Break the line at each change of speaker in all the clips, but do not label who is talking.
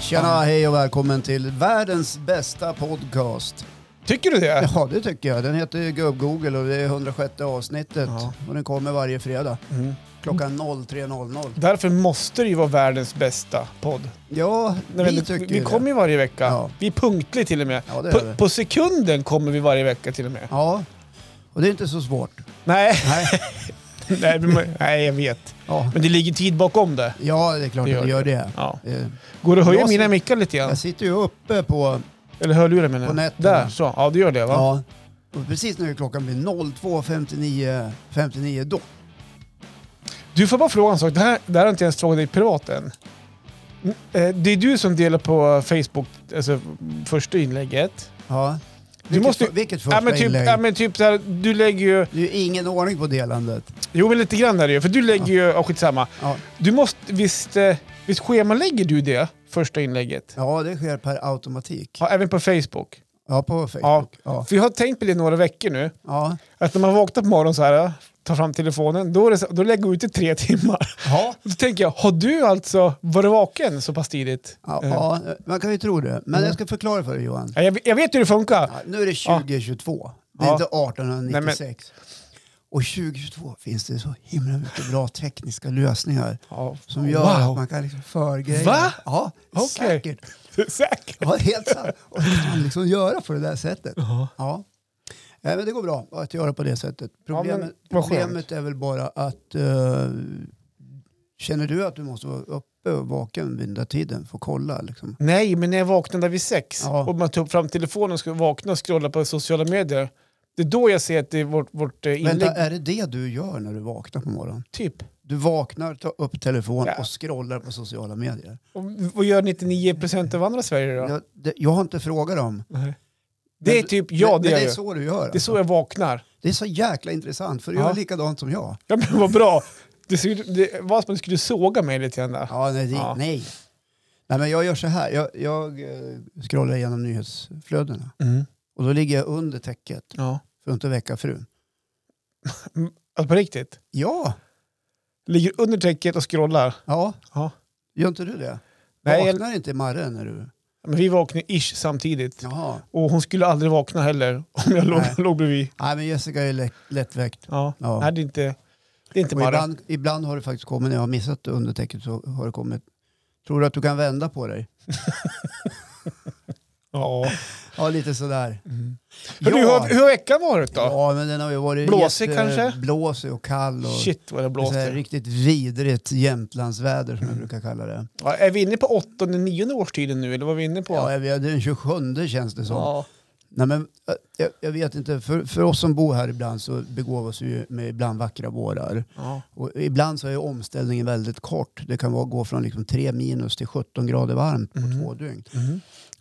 Tjena, hej och välkommen till världens bästa podcast.
Tycker du det?
Ja, det tycker jag. Den heter ju Gubb-Google och det är 106 avsnittet.
Ja.
Och den kommer varje fredag
Mm.
klockan 03.00.
Därför måste det ju vara världens bästa podd.
Ja,
Nej, men
vi
det-
tycker
vi
det.
kommer ju varje vecka.
Ja.
Vi är punktliga till och med.
Ja, det är
På,
vi.
på sekunden kommer vi varje vecka till och med.
Ja, och det är inte så svårt.
Nej,
Nej.
nej, men- nej, jag vet.
Ja,
Men det ligger tid bakom det.
ja det är klart
Det gör
att det gör det.
Ja.
Eh,
Går det att höja
Jag ser-
mina mickar lite grann?
Jag sitter ju uppe på...
Eller hörlurar menar jag.
På nätterna.
Där, så. Ja, det gör det va?
Ja, och precis nu klockan blir 02.59 59 då.
Du får bara fråga en sak. Det här, det här har jag inte ens frågat dig privat än. Mm, eh, Det är du som delar på Facebook, alltså första inlägget.
Ja.
Du
Vilket,
måste-
för- vilket första
Ja men typ,
inlägg.
ja, men typ så här, du lägger ju...
Det är ju ingen ordning på delandet.
Jo, men lite grann är det ju. För du lägger ju... Ja, skitsamma.
Ja.
Du måste... Visst, eh, visst schemalägger du det första inlägget?
Ja, det sker per automatik.
Ja, även på Facebook?
Ja, på Facebook. Ja.
För jag har tänkt på det några veckor nu.
Ja.
Att när man vaknar på morgonen så här, tar fram telefonen, då, är det så, då lägger jag ut i tre timmar.
Ja.
Då tänker jag, har du alltså varit vaken så pass tidigt?
Ja,
Eh, Mm.
man kan ju tro det. Men jag ska förklara för dig Johan.
ja, jag, jag vet hur det funkar.
Ja, nu är det 2022. Det är
Ja.
inte 1896. Och 2022 finns det så himla mycket bra tekniska lösningar
Ja.
som gör att man kan liksom förgreja.
Va?
Ja,
Okej.
säkert.
Säkert?
Ja, helt sant. Och det kan man liksom göra på det där sättet. Ja. Eh, Men det går bra att göra på det sättet. Problemet,
vad skönt.
problemet är väl bara att eh, känner du att du måste vara uppe och vaken vid den där tiden för att kolla? Liksom.
Nej, men när jag vaknar där vid sex
Ja.
och man tar upp fram telefonen och ska vakna och scrolla på sociala medier. Det är då jag ser att det är vårt, vårt eh, inlägg.
Vänta, är det det du gör när du vaknar på morgonen?
Typ.
Du vaknar, tar upp telefonen
Ja.
och scrollar på sociala medier.
Och vad gör 99% av andra Sverige då?
Jag, det, jag har inte frågat dem.
Nej. Det är typ, ja
men,
det,
men
gör
det är
jag.
så du gör.
Det är
Alltså.
så jag vaknar.
Det är så jäkla intressant för du gör
Ja.
likadant som jag.
Ja men vad bra. Det, ser ut- det var som att du skulle såga mig lite grann där.
Ja, nej, det,
Ja.
nej. Nej, men jag gör så här. Jag, jag eh, scrollar igenom nyhetsflödena
Mm.
och då ligger jag under täcket
Ja.
för att inte väcka frun.
Alltså på riktigt.
Ja,
Ligger under täcket och scrollar.
ja.
Ja.
gör inte du det?
Nej, jag-
Vaknar inte Marre när du...
Men vi vaknar ish samtidigt.
Jaha.
Och hon skulle aldrig vakna heller om jag låg,
Nej.
låg bredvid.
Nej, men Jessica är lätt, lättväckt.
Ja.
Ja.
Nej, det är inte, det är inte
Och
bara...
ibland, ibland har det faktiskt kommit, när jag har missat det under täcket så har det kommit. Tror du att du kan vända på dig?
Ja.
Ja, lite sådär.
Hörru, Mm. Hur, har, hur har veckan varit då?
ja, men den har ju varit
Blåsig
jätte-
kanske?
Blåsig och kall och
Shit vad Mm. det
så här,
blåste.
riktigt vidrigt Jämtlandsväder som jag brukar kalla det.
Ja, är vi inne på åttonde, nionde årstiden nu eller vad är vi inne på?
Ja, jag vet, det är den 27 känns det som.
Ja.
Nej, men, eh, jag, jag vet inte, för, för oss som bor här ibland så begåvas vi ju med ibland vackra vårar.
Ja.
Och ibland så är ju omställningen väldigt kort. Det kan vara, gå från liksom 3 minus till 17 grader varmt på två dygn.
Mhm.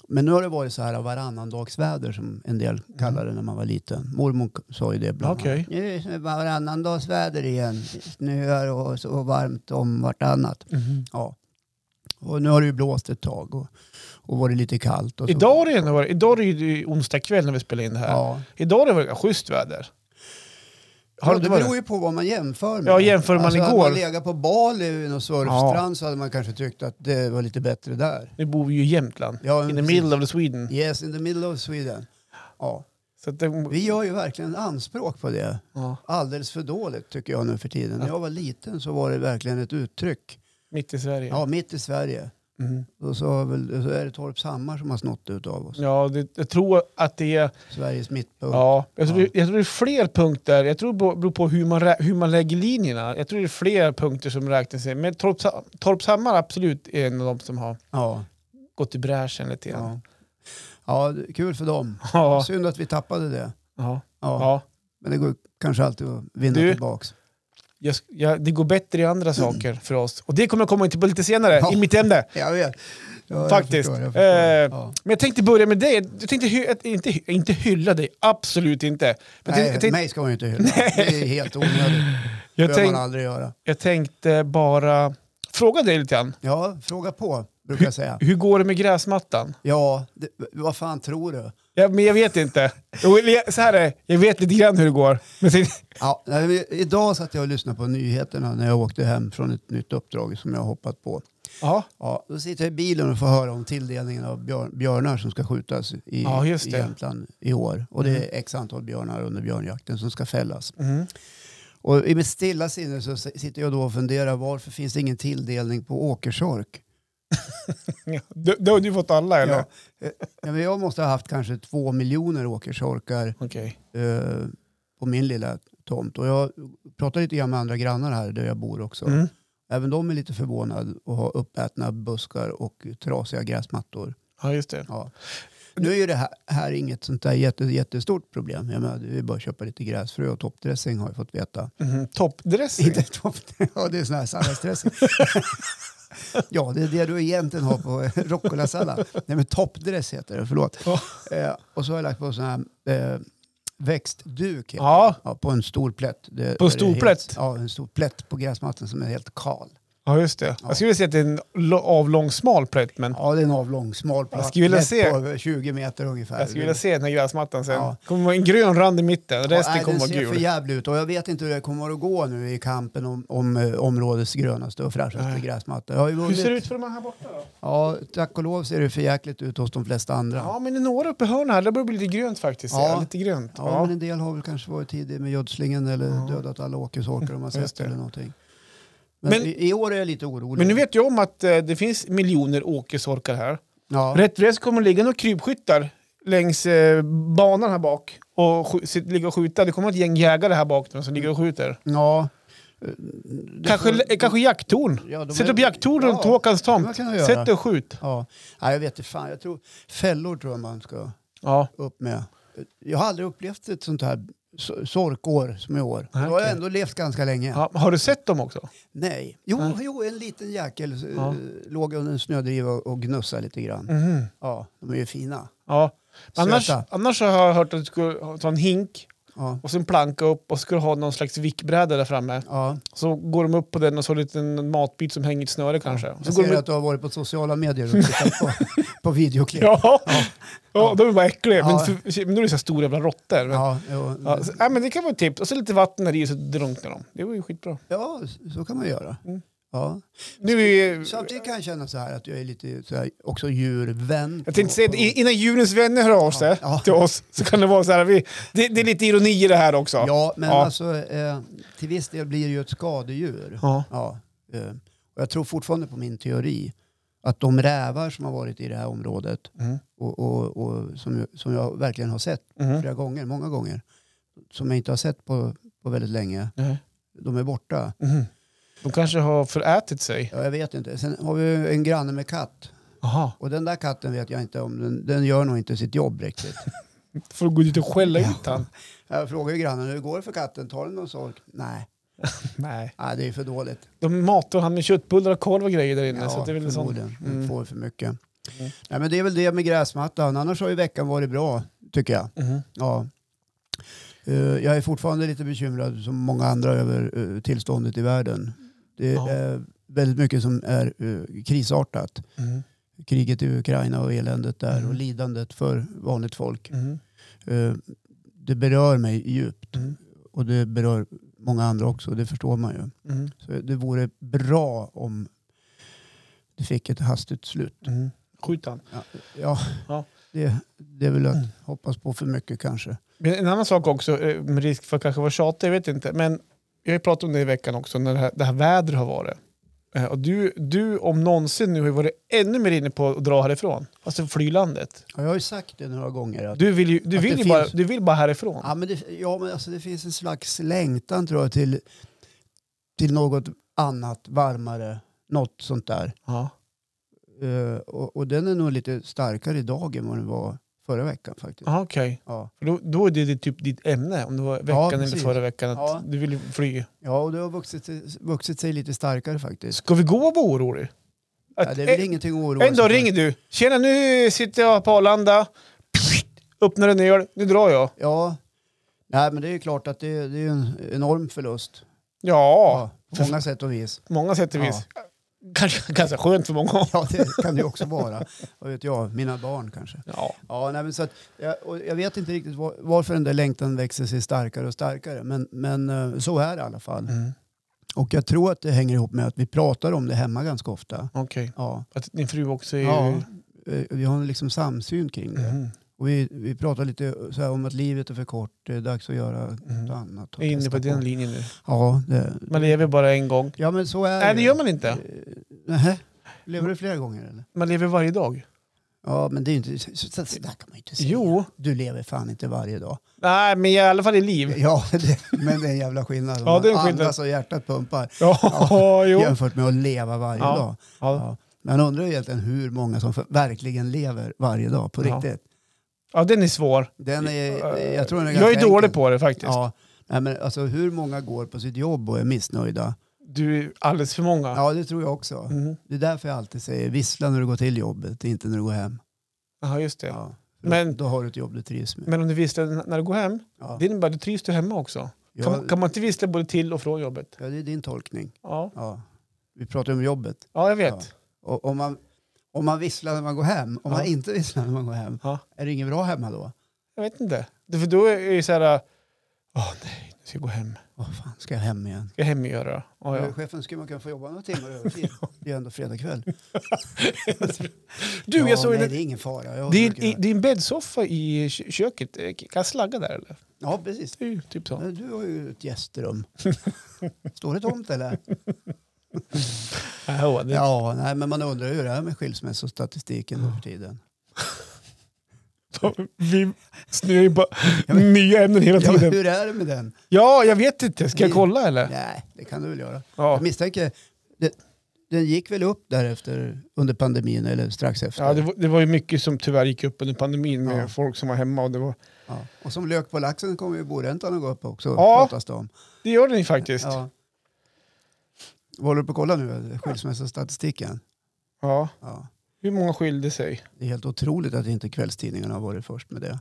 Men nu har det varit så här varannandagsväder som en del kallade det när man var liten. Mormor k- sa ju det ibland.
Mm. Okej.
Nu är det varannandagsväder igen. Snöar och så varmt om vartannat.
Mhm.
Ja. Och nu har det ju blåst ett tag och, och varit lite kallt. Och så.
Idag har det ändå varit, idag är det ju onsdag kväll när vi spelar in det här.
Ja.
Idag har det varit schysst väder. Har
Ja,
det
det
inte varit?
beror ju på vad man jämför med.
Ja, jämför man
alltså,
igår.
Hade man legat på Bali i någon surfstrand så hade man kanske tyckt att det var lite bättre där.
Nu bor vi ju i Jämtland.
Ja,
In the
precis.
middle of the Sweden.
Yes, in the middle of Sweden. Ja.
Så att det,
Vi gör ju verkligen anspråk på det.
ja,
Alldeles för dåligt tycker jag nu för tiden. När jag var liten så var det verkligen ett uttryck.
mitt i Sverige. Ja,
Ja, mitt i Sverige.
mm.
Och så, har väl, så är det Torp Hammar som har snott det utav oss.
ja det, jag tror att det är...
Sveriges mittpunkt.
Ja, jag, tror,
Ja.
jag tror det är fler punkter. Jag tror det beror på hur man, rä- hur man lägger linjerna. Jag tror det är fler punkter som räknas in. Men Torps- Torpshammar absolut är en av de som har
Ja.
gått i bräschen lite grann.
ja. ja det- kul för dem.
Ja.
Synd att vi tappade det.
Ja.
Ja.
Ja.
Men det går kanske alltid att vinna
Du,
tillbaks.
Jag, sk- jag, det går bättre i andra saker för oss. Och det kommer jag komma in till på lite senare
Ja.
i mitt ämne.
Jag vet. Ja,
Faktiskt.
Jag förstår, jag förstår.
Eh,
ja.
Men jag tänkte börja med dig. Jag tänkte hy- att- inte, hy- inte hylla dig, absolut inte. Men jag tänkte-
Nej,
jag, tänkte,
mig ska man ju inte hylla. Det är helt onödigt. Det
jag,
behöver man
tänkte,
aldrig göra.
jag tänkte bara fråga dig lite grann.
Ja, fråga på brukar jag säga.
Hur går det med gräsmattan?
Ja, det, vad fan tror du?
Ja, men jag vet inte. Jo, eller jag- Så här är det. jag vet lite grann hur det går. Men sen,
Ja, nej, men idag satt jag och lyssnade på nyheterna när jag åkte hem från ett nytt uppdrag som jag har hoppat på.
ja,
Ja, då sitter jag i bilen och får höra om tilldelningen av björ- björnar som ska skjutas i,
Ja, just
i
det. Mm.
Jämtland i år. Och det är x antal björnar under björnjakten som ska fällas. Och i mitt stilla sinne så s- sitter jag då och funderar varför finns det ingen tilldelning på åkersork?
då, då har du fått alla eller?
Ja, eh, ja, men jag måste ha haft kanske två miljoner åkersorkar
Okej.
eh, på min lilla tomt. Och jag pratar lite grann med andra grannar här där jag bor också.
Mm.
Även de är lite förvånade och har uppätna buskar och trasiga gräsmattor.
Ja, just det.
Ja. Nu är ju det här, här inget sånt där jätte, jättestort problem. Jag menar, det är bara att köpa lite gräsfrö och toppdressing har jag fått veta.
Mhm. Toppdressing?
Inte toppdressing, ja det är sån här salladsdressing. ja, det är det du egentligen har på rucolasallad. Nej men toppdress heter det, förlåt.
Ja.
Eh, och så har jag lagt på sån här eh, växtduk. heter
Ja.
det. Ja, på en stor plätt. Det-
På en
där
stor
det är helt-
plätt?
Ja, en stor plätt på gräsmattan som är helt kal.
ja, just det. Jag skulle vilja säga att det är en lo- avlång smal plätt, men
Ja, det är en avlång smal plätt.
Jag skulle vilja
Lätt
se-
På 20 meter ungefär.
jag skulle vilja se den här gräsmattan sen.
Ja.
kommer vara en grön rand i mitten, resten
Nej,
kommer
den
vara
ser
gul.
för jävligt ut och jag vet inte hur det kommer att gå nu i kampen om, om eh, områdets grönaste och fräschaste
Nej.
gräsmatta. Jag har ju
Hur
vunnit.
ser det ut för de här borta då?
Ja, tack och lov ser det för jäkligt ut hos de flesta andra.
Ja, men det är några uppe i hörnet här. Det börjar bli lite grönt faktiskt.
Ja.
Ja. Lite grönt.
Ja, men en del har väl kanske varit tidig med gödslingen eller dödat alla åkersorkar om man
Just
sett
det.
eller någonting. Men,
Men-
i, i år är jag lite orolig.
Men nu vet jag om att eh, det finns miljoner åkersorkar här.
ja.
Rätt för det så kommer det ligga några krypskyttar längs eh, banan här bak och sk- sit, ligga och skjuta. Det kommer ett gäng jägare här bak nu som ligger och skjuter.
ja. Eh, det
Kanske,
får-
eh, kanske jakttorn.
Ja, de
Sätt
är-
upp jakttorn
ja,
runt Håkans
det
tomt.
kan jag göra.
Sätt dig och skjut.
Ja. Nej, jag vet inte fan. Jag tror, fällor tror jag man ska
Ja.
upp med. Jag har aldrig upplevt ett sånt här so- sorkår som i år.
Nej,
Jag har
okej.
ändå levt ganska länge.
Ja. Har du sett dem också?
Nej. Jo,
Nej.
jo, en liten jäkel eh,
Ja.
låg under en snödriva och och gnussade lite grann.
Mhm.
Ja, de är ju fina.
Ja. Annars,
Söta.
annars har jag hört att du skulle ha- ta en hink
Ja.
och sen planka upp och skulle ha någon slags vickbräda där framme.
Ja.
Så går de upp på den och så har du en liten matbit som hänger i ett snöre kanske. Så
Jag
går de
ser
ut-
att du har varit på sociala medier och tittat på, på videoklipp.
Ja, ja. de är bara äckliga.
Ja.
Men, för, men då är det så här stora jävla råttor. Men, ja.
Ja, jo.
så, nej, men det kan vara ett tips. Och så lite vatten där i så drunknar de. Det var ju skitbra.
ja, så kan man göra.
Mm.
Ja.
Nu är,
Samtidigt kan jag känna så här att jag är lite så här, också djurvän.
jag tänkte säga att i- innan djurens vänner hör av sig
Ja.
till oss så kan det vara så här. Vi, det, det är lite ironi i det här också.
Ja, men
Ja.
alltså eh, till viss del blir det ju ett skadedjur.
Ja.
Ja, eh, och jag tror fortfarande på min teori att de rävar som har varit i det här området
Mm.
och, och, och som, ju- som jag verkligen har sett
Mhm.
flera gånger, många gånger, som jag inte har sett på, på väldigt länge,
Nej.
de är borta.
Mhm. De kanske har förätit sig.
Ja, jag vet inte. Sen har vi ju en granne med katt.
Aha.
Och den där katten vet jag inte om, den, den gör nog inte sitt jobb riktigt.
Får gå dit och skälla ut han.
Jag frågar ju grannen, hur går det för katten? Tar den någon sork? Nej,
Nej.
Nej det är för dåligt.
De matar han med köttbullar och korv och grejer där inne.
Ja,
så att det är väl en sån...
förmodligen.
Mm.
Den får för mycket.
Mm.
Nej, men det är väl det med gräsmattan. Annars har ju veckan varit bra, tycker jag.
Mhm.
Ja. Eh, jag är fortfarande lite bekymrad, som många andra, över eh, tillståndet i världen. Det
Ja.
är väldigt mycket som är eh, krisartat.
Mhm.
Kriget i Ukraina och eländet där
Mm.
och lidandet för vanligt folk.
Mhm.
Eh, det berör mig djupt
Mhm.
och det berör många andra också, det förstår man ju.
Mhm.
Så det vore bra om det fick ett hastigt slut.
Mhm. Skjut han.
Ja, ja.
Ja. Mm.
Det, det är väl att hoppas på för mycket kanske.
Men en annan sak också, eh, med risk för att kanske vara tjatig, jag vet inte, men jag har ju pratat om det i veckan också, när det här, det här vädret har varit. Eh, Och du, du om någonsin nu har ju varit ännu mer inne på att dra härifrån, alltså flylandet.
Ja, jag har ju sagt det några gånger. Att,
Du vill ju, du
Att
vill
det
ju bara,
finns-
du vill bara härifrån.
ja, men det, ja, men alltså, det finns en slags längtan tror jag till, till något annat, varmare, något sånt där.
Ja.
Eh, och, och den är nog lite starkare idag än vad den var förra veckan faktiskt.
Ja, okej.
Ja.
För Då, då är det typ ditt ämne, om det var veckan eller
precis.
förra veckan, att
Ja.
du vill fly.
ja, och det har vuxit, vuxit sig lite starkare faktiskt.
Ska vi gå och vara orolig?
Ja,
Att
det är väl
en-
ingenting att oroa
en dag
för.
ringer du. Tjena, nu sitter jag på Arlanda. Öppnar en öl, nu drar jag.
Ja, Nej, men det är ju klart att det, det är ju en enorm förlust.
Ja,
Ja, på många sätt och vis.
på många sätt och vis. Kanske ganska skönt för många.
Ja, det kan det ju också vara. Vad vet jag, mina barn kanske.
Ja.
Ja, nej, men så att, jag, och jag vet inte riktigt var, varför den där längtan växer sig starkare och starkare, men, men eh, så är det i alla fall.
Mm.
Och jag tror att det hänger ihop med att vi pratar om det hemma ganska ofta.
Okej.
Ja,
Att din fru också är...
ja eh, vi har en liksom samsyn kring det.
Mm.
Och vi, vi pratar lite så här om att livet är för kort, det är dags att göra något
Mm.
annat. och
Jag är inne
testa
på den linjen nu.
Ja, det,
Man lever bara en gång.
ja, men så är
Nej, det
ju.
gör man inte.
Eh, nähä. Lever du flera gånger eller?
Man lever varje dag.
Ja, men det är ju inte, så, så, så där kan man ju inte säga.
Jo.
Du lever fan inte varje dag.
Nej, men i alla fall i liv.
Ja, det, men det är en jävla skillnad. om
Ja, det är en
man
skillnad.
Andas och hjärtat pumpar
Ja, jo.
jämfört med att leva varje
Ja.
dag.
Ja.
Ja. Man undrar ju egentligen hur många som för- verkligen lever varje dag på
Ja.
riktigt.
ja, den är svår.
Den är, eh, jag tror den är
eh, Jag är
ganska
dålig
enkel.
på det faktiskt.
Ja. Nej, men alltså, hur många går på sitt jobb och är missnöjda?
Du är alldeles för många.
Ja, det tror jag också.
Mm.
Det är därför jag alltid säger vissla när du går till jobbet, inte när du går hem.
Aha, just det.
Ja.
Men-
Men, då har du ett jobb du trivs med.
Men om du visslar när du går hem,
ja.
det innebär att du trivs du hemma också.
Ja,
Kan, kan man inte vissla både till och från jobbet?
ja, det är din tolkning.
Ja,
Ja. Vi pratar om jobbet.
ja jag vet.
Och om man, om man visslar när man går hem, om
Ja.
man inte visslar när man går hem,
Ja.
är det inget bra hemma då?
Jag vet inte. Det- För då är det ju så här, äh, åh nej, nu ska jag gå hem.
Åh fan, ska jag hem igen?
Ska jag hem och göra det? Ja,
Eh,
ja.
Chefen, skulle man kunna få jobba några timmar övertid? Det är ju ändå fredag kväll.
Du,
ja,
jag såg
nej,
nej,
det är ingen fara. Jag
din,
brukar
i-
göra-
din bäddsoffa i kö- köket, eh, kan jag slagga där eller?
Ja, precis.
Det är ju typ så.
Men Du har ju ett gästrum. Står det tomt eller?
Ja, det,
Ja, nej, men man undrar ju hur det är med skilsmässostatistiken nu för tiden.
Vi snurrar ju bara nya ämnen hela
Ja, men
tiden.
hur är det med den?
Ja, jag vet inte. Ska jag kolla eller?
Nej, det kan du väl göra.
Ja,
Jag misstänker, det, den gick väl upp därefter under pandemin eller strax efter?
ja det, var, det var ju mycket som tyvärr gick upp under pandemin med
Ja.
folk som var hemma. Och det, var,
Ja. Och som lök på laxen kommer ju boräntan att gå upp också,
Ja.
pratas det om.
det gör den ju faktiskt. Ja.
Ja. Vad håller du på att kolla nu? Skilsmässostatistiken? Ja.
Hur många skilde sig?
Det är helt otroligt att inte kvällstidningarna har varit först med det.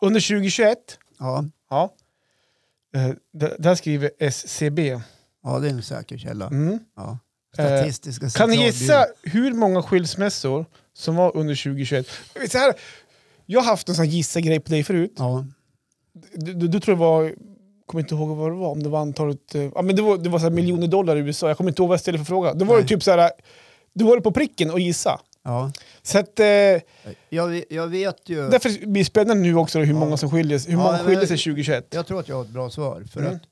Under 2021,
Ja,
ja. Eh, d- där skriver SCB.
ja det är en säker källa.
Mm.
Ja. Statistiska
Kan ni
centralbyrån.
gissa hur många skilsmässor som var under 2021? Så här, jag har haft en sån gissa-grej på dig förut.
Ja.
Du, du, du tror det var, kommer inte ihåg vad det var, om det var antalet, eh, ja men det var, det var så här miljoner dollar i USA, jag kommer inte ihåg vad jag ställde för fråga. Då var det
Nej.
typ så här, du var det på pricken och gissa.
Ja.
Så att, eh,
Jag, jag vet ju,
därför blir det spännande nu också hur
Ja.
många som skiljer sig, hur
Ja,
många
men-
skiljer sig 2021.
jag tror att jag har ett bra svar. För
Mm.
att,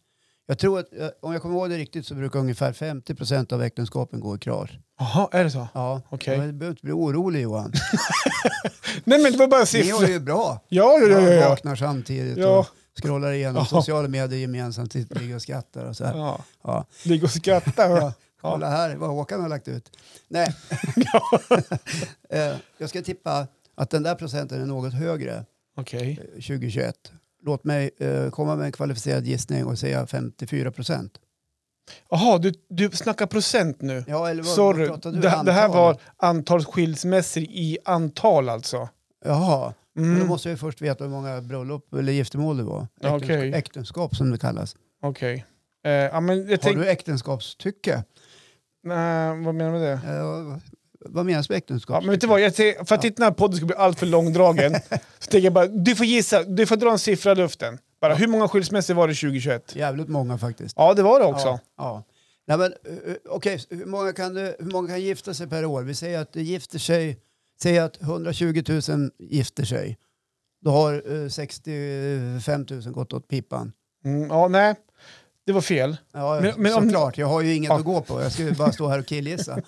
jag tror att, eh, om jag kommer ihåg det riktigt så brukar ungefär 50 procent av äktenskapen gå i krasch.
Jaha, är det så?
Ja,
Okej.
Men du behöver inte bli orolig Johan.
Nej men det var bara
Ni har
siffror.
ju bra.
Ja, ja, ja. ja, ja.
vaknar samtidigt
Ja.
och scrollar igenom
Ja.
sociala medier gemensamt, sitter- ligger och skrattar och så här.
ja.
Ja.
Ligg och skratta.
Ja.
Ja.
Kolla här vad Håkan har lagt ut. Nej. Eh, Jag ska tippa att den där procenten är något högre
Okej.
eh, 2021. Låt mig eh, komma med en kvalificerad gissning och säga 54 procent.
Jaha, du, du snackar procent nu.
Ja, eller vad,
Sorry,
vad pratade du?
det, det här
Antal?
var antal skilsmässor i antal alltså.
Jaha, men
Mm.
då måste jag ju först veta hur många bröllop eller giftermål det var.
Ja,
Äktenskap,
okej.
äktenskap som det kallas.
Okej. Eh, ja, men jag
Har
tänk,
du äktenskapstycke?
Nej, vad menar du med det?
Eh, vad menas med äktenskap?
Ja, men vet du vad, jag tänk, för att
Ja.
inte den här podden ska bli alltför långdragen så tänker jag bara, du får gissa, du får dra en siffra i luften. Bara, hur många skilsmässor var det 2021?
Jävligt många faktiskt.
Ja, det var det också.
Ja. ja. Nej, men, eh, eh, okej, så hur, många kan du, hur många kan gifta sig per år? Vi säger att det gifter sig, säg att 120 000 gifter sig. Då har eh, 65 000 gått åt pipan.
Mm, ja, nej. Det var fel.
Ja,
Men- men om-
såklart. Jag har ju inget
Ja.
att gå på. Jag ska ju bara stå här och killgissa.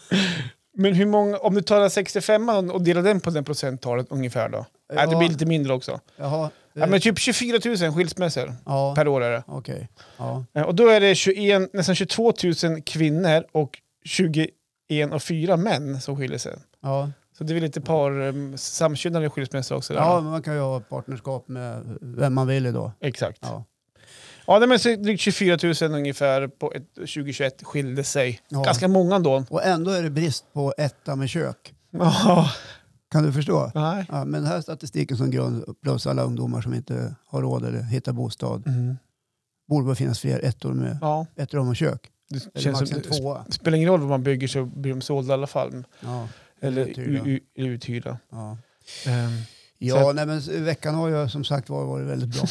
Men hur många, om du tar den 65 och delar den på den procenttalet ungefär då? Nej, det
Ja.
blir lite mindre också.
Jaha. eh,
Ja, men typ 24 000 skilsmässor
ja,
per år är det.
okej. Ja.
Eh, Och då är det 21, nästan 22 000 kvinnor och 21 och 4 män som skiljer sig.
Ja.
Så det är väl lite par um, samkönade skilsmässor också. Där.
ja,
Ja.
men man kan ju ha partnerskap med vem man vill idag.
Exakt. Ja,
Ja.
nej, men så är det drygt 24 000 ungefär på ett, 2021 skilde sig.
Ja.
Ganska många då.
Och ändå är det brist på etta med kök.
Ja,
Kan du förstå?
nej.
Ja, men den här statistiken som grund, plus alla ungdomar som inte har råd eller hittar bostad,
Mm.
borde väl finnas fler ettor med
Ja.
ett rum och kök.
Det
Eller
känns som,
max en
det
tvåa.
spelar ingen roll vad man bygger så blir de sålda i alla fall.
Ja,
Eller
Uthyrda.
u- u- uthyrda.
ja.
Ehm, Så
ja nej, men s- veckan har ju som sagt var varit väldigt bra.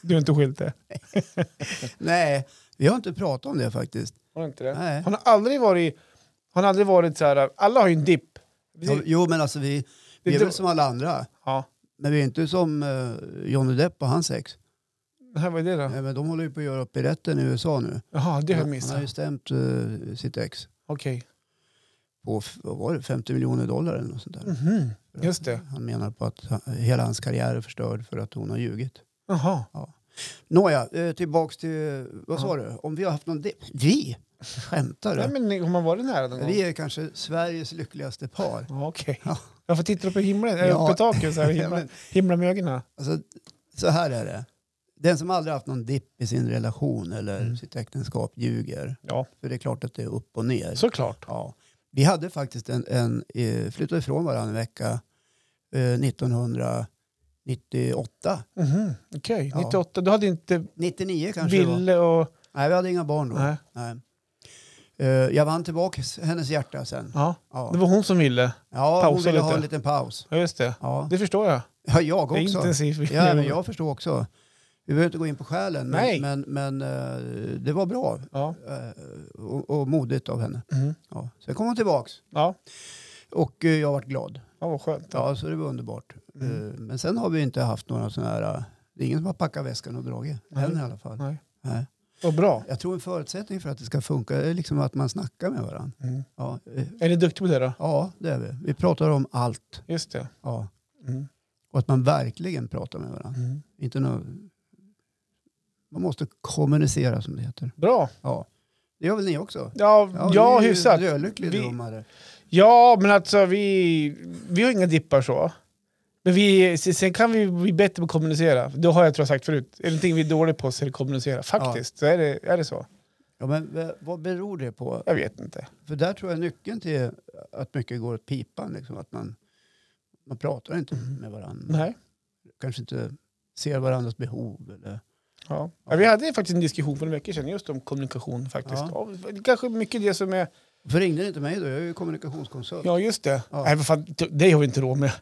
du har inte skilt det?
nej, vi har inte pratat om det faktiskt.
Har du inte det?
Nej.
Han har aldrig varit, han har aldrig varit så här, alla har ju en dipp.
Ja, Jo, men alltså vi, vi är väl som alla andra.
Ja,
Men vi är inte som eh, Johnny Depp och hans ex.
det här var det då?
Nej, men de håller ju på att göra upp i rätten i USA nu.
Jaha, det har jag
Han- Han har ju
missat.
stämt eh, sitt ex
Okej.
på f- vad var det, 50 miljoner dollar eller något sånt där.
Mhm, Just det.
Han menar på att han- hela hans karriär är förstörd för att hon har ljugit.
Jaha.
Nåja, eh, tillbaks till, vad sa
Ja.
du? Om vi har haft någon dipp? Vi? Skämtar
Nej,
du?
men ni- har man varit nära någon gång?
Vi är kanske Sveriges lyckligaste par.
Ja, Okej.
Ja.
Jag får titta upp i himlen, ja.
Ja.
uppe i taket så här,
Ja,
himla,
men-
himla med ögonen.
Alltså, så här är det. Den som aldrig haft någon dipp i sin relation eller
Mm.
sitt äktenskap ljuger.
Ja,
För det är klart att det är upp och ner.
såklart.
Ja. Vi hade faktiskt en, en eh, flyttade ifrån varandra en vecka eh, 1998.
Mhm, Okej,
Ja.
98. Du hade inte
99 kanske det var.
Ville och...
Nej, vi hade inga barn då. Nej.
Nej.
Eh, jag vann tillbaka s- hennes hjärta sen.
Ja.
Ja,
Det var hon som ville.
ja hon
pausa
ville ha
lite.
en liten paus.
Ja, just det.
Ja,
Det förstår jag.
ja jag
Det är
också.
intensivt.
Ja, men jag förstår också. Vi behöver inte gå in på skälen,
Nej.
men, men, men eh, det var bra
Ja.
eh, och, och modigt av henne.
Mhm.
Ja. Sen kom hon tillbaks
Ja.
och eh, jag vart glad.
ja, vad skönt.
Ja, så det var underbart.
Mm.
Eh, Men sen har vi inte haft några sådana här... eh, Det är ingen som har packat väskan och dragit.
Nej.
Än i alla fall.
Nej.
Nej.
Vad bra.
Jag tror en förutsättning för att det ska funka är liksom att man snackar med varandra.
Mm.
Ja, eh,
Är ni duktiga på det då?
ja det är vi. Vi pratar om allt.
Just det.
Ja.
Mm.
Och att man verkligen pratar med varandra.
Mm.
Inte nå... Man måste kommunicera som det heter.
Bra.
Ja. Det gör väl ni också?
Ja, ja, ja
ni är ju
hyfsat.
Rödlycklig
Vi-
domare.
Ja, men alltså vi, vi har inga dippar så. Men vi, se- sen kan vi bli bättre på att kommunicera. Det har jag tror jag sagt förut. Är det någonting vi är dåliga på så är det kommunicera. Faktiskt, så är, det, är det så.
Ja, men v- vad beror det på?
Jag vet inte.
För där tror jag nyckeln till att mycket går åt pipan. Liksom, att man, man pratar inte
Mm.
med varandra.
Nej.
Kanske inte ser varandras behov. Eller,
Ja. Ja, vi hade faktiskt en diskussion för en vecka sedan just om kommunikation faktiskt. Ja.
Ja.
det kanske mycket det som är...
för ringde ni inte mig då? Jag är ju kommunikationskonsult.
Ja, just det.
Ja.
Nej, vad fan, t- det har vi inte råd med.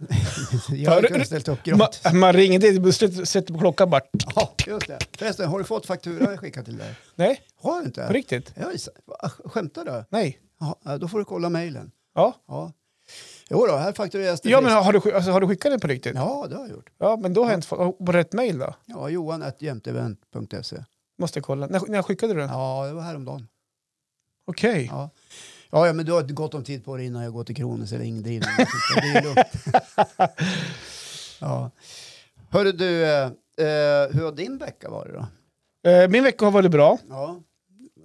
jag hade kunnat ställt upp
Man,
gratis.
man ringer, det, slut- sätter på klockan bara...
Ja, just det. Förresten, har du fått faktura jag skickat till dig?
Nej,
Har du
på
inte?
riktigt.
Jag är, va, skämtar du?
Nej.
Ja, då får du kolla mejlen.
Ja,
Ja. Jo då, här faktureras det
ja men
friskt.
har du, sk- alltså, har du skickat den på riktigt? Ja,
Ja, det har jag gjort.
men då har jag inte fått... oh, På rätt mejl då?
Ja, johan.jämtevent.se.
Måste jag kolla. När, när skickade du den?
Ja, det var häromdagen.
Okej.
Ja. Ja, ja, men du har gott om tid på dig innan jag går till Kronos eller indrivning. det är lugnt. ja. Hörru du, eh, eh, hur har din vecka varit då?
Eh, Min vecka har varit bra.
Ja.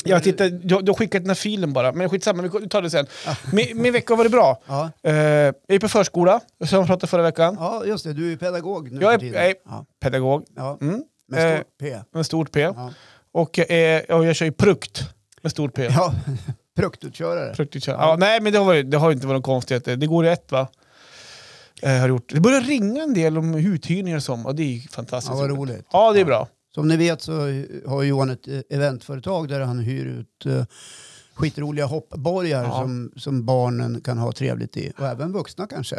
Jag tittar, du, du har skickat den här filen bara, men skitsamma, vi tar det sen.
Ah.
Min, min vecka har varit bra.
Ja.
Eh, Jag är på förskola, som jag pratade förra veckan.
ja, just det. Du är ju pedagog nu
Jag är-
för
jag är-
tiden. Ja.
Pedagog,
Ja.
mm.
Med stort P.
med stort P.
Ja,
Och jag, är, och jag kör ju prukt med stort P.
ja. produktutkörare.
Pruktigt kör.
Ja.
Ja, nej, men det har, varit, det har inte varit någon konstigheter. Det går rätt va? Eh, har gjort. Det börjar ringa en del om uthyrningar och sånt, och det är ju fantastiskt.
Ja, vad roligt.
Alltså, Ja, det är
Ja.
bra.
Som ni vet så har Johan ett eh, eventföretag där han hyr ut eh, skitroliga hoppborgar
Ja.
som, som barnen kan ha trevligt i. Och även vuxna kanske.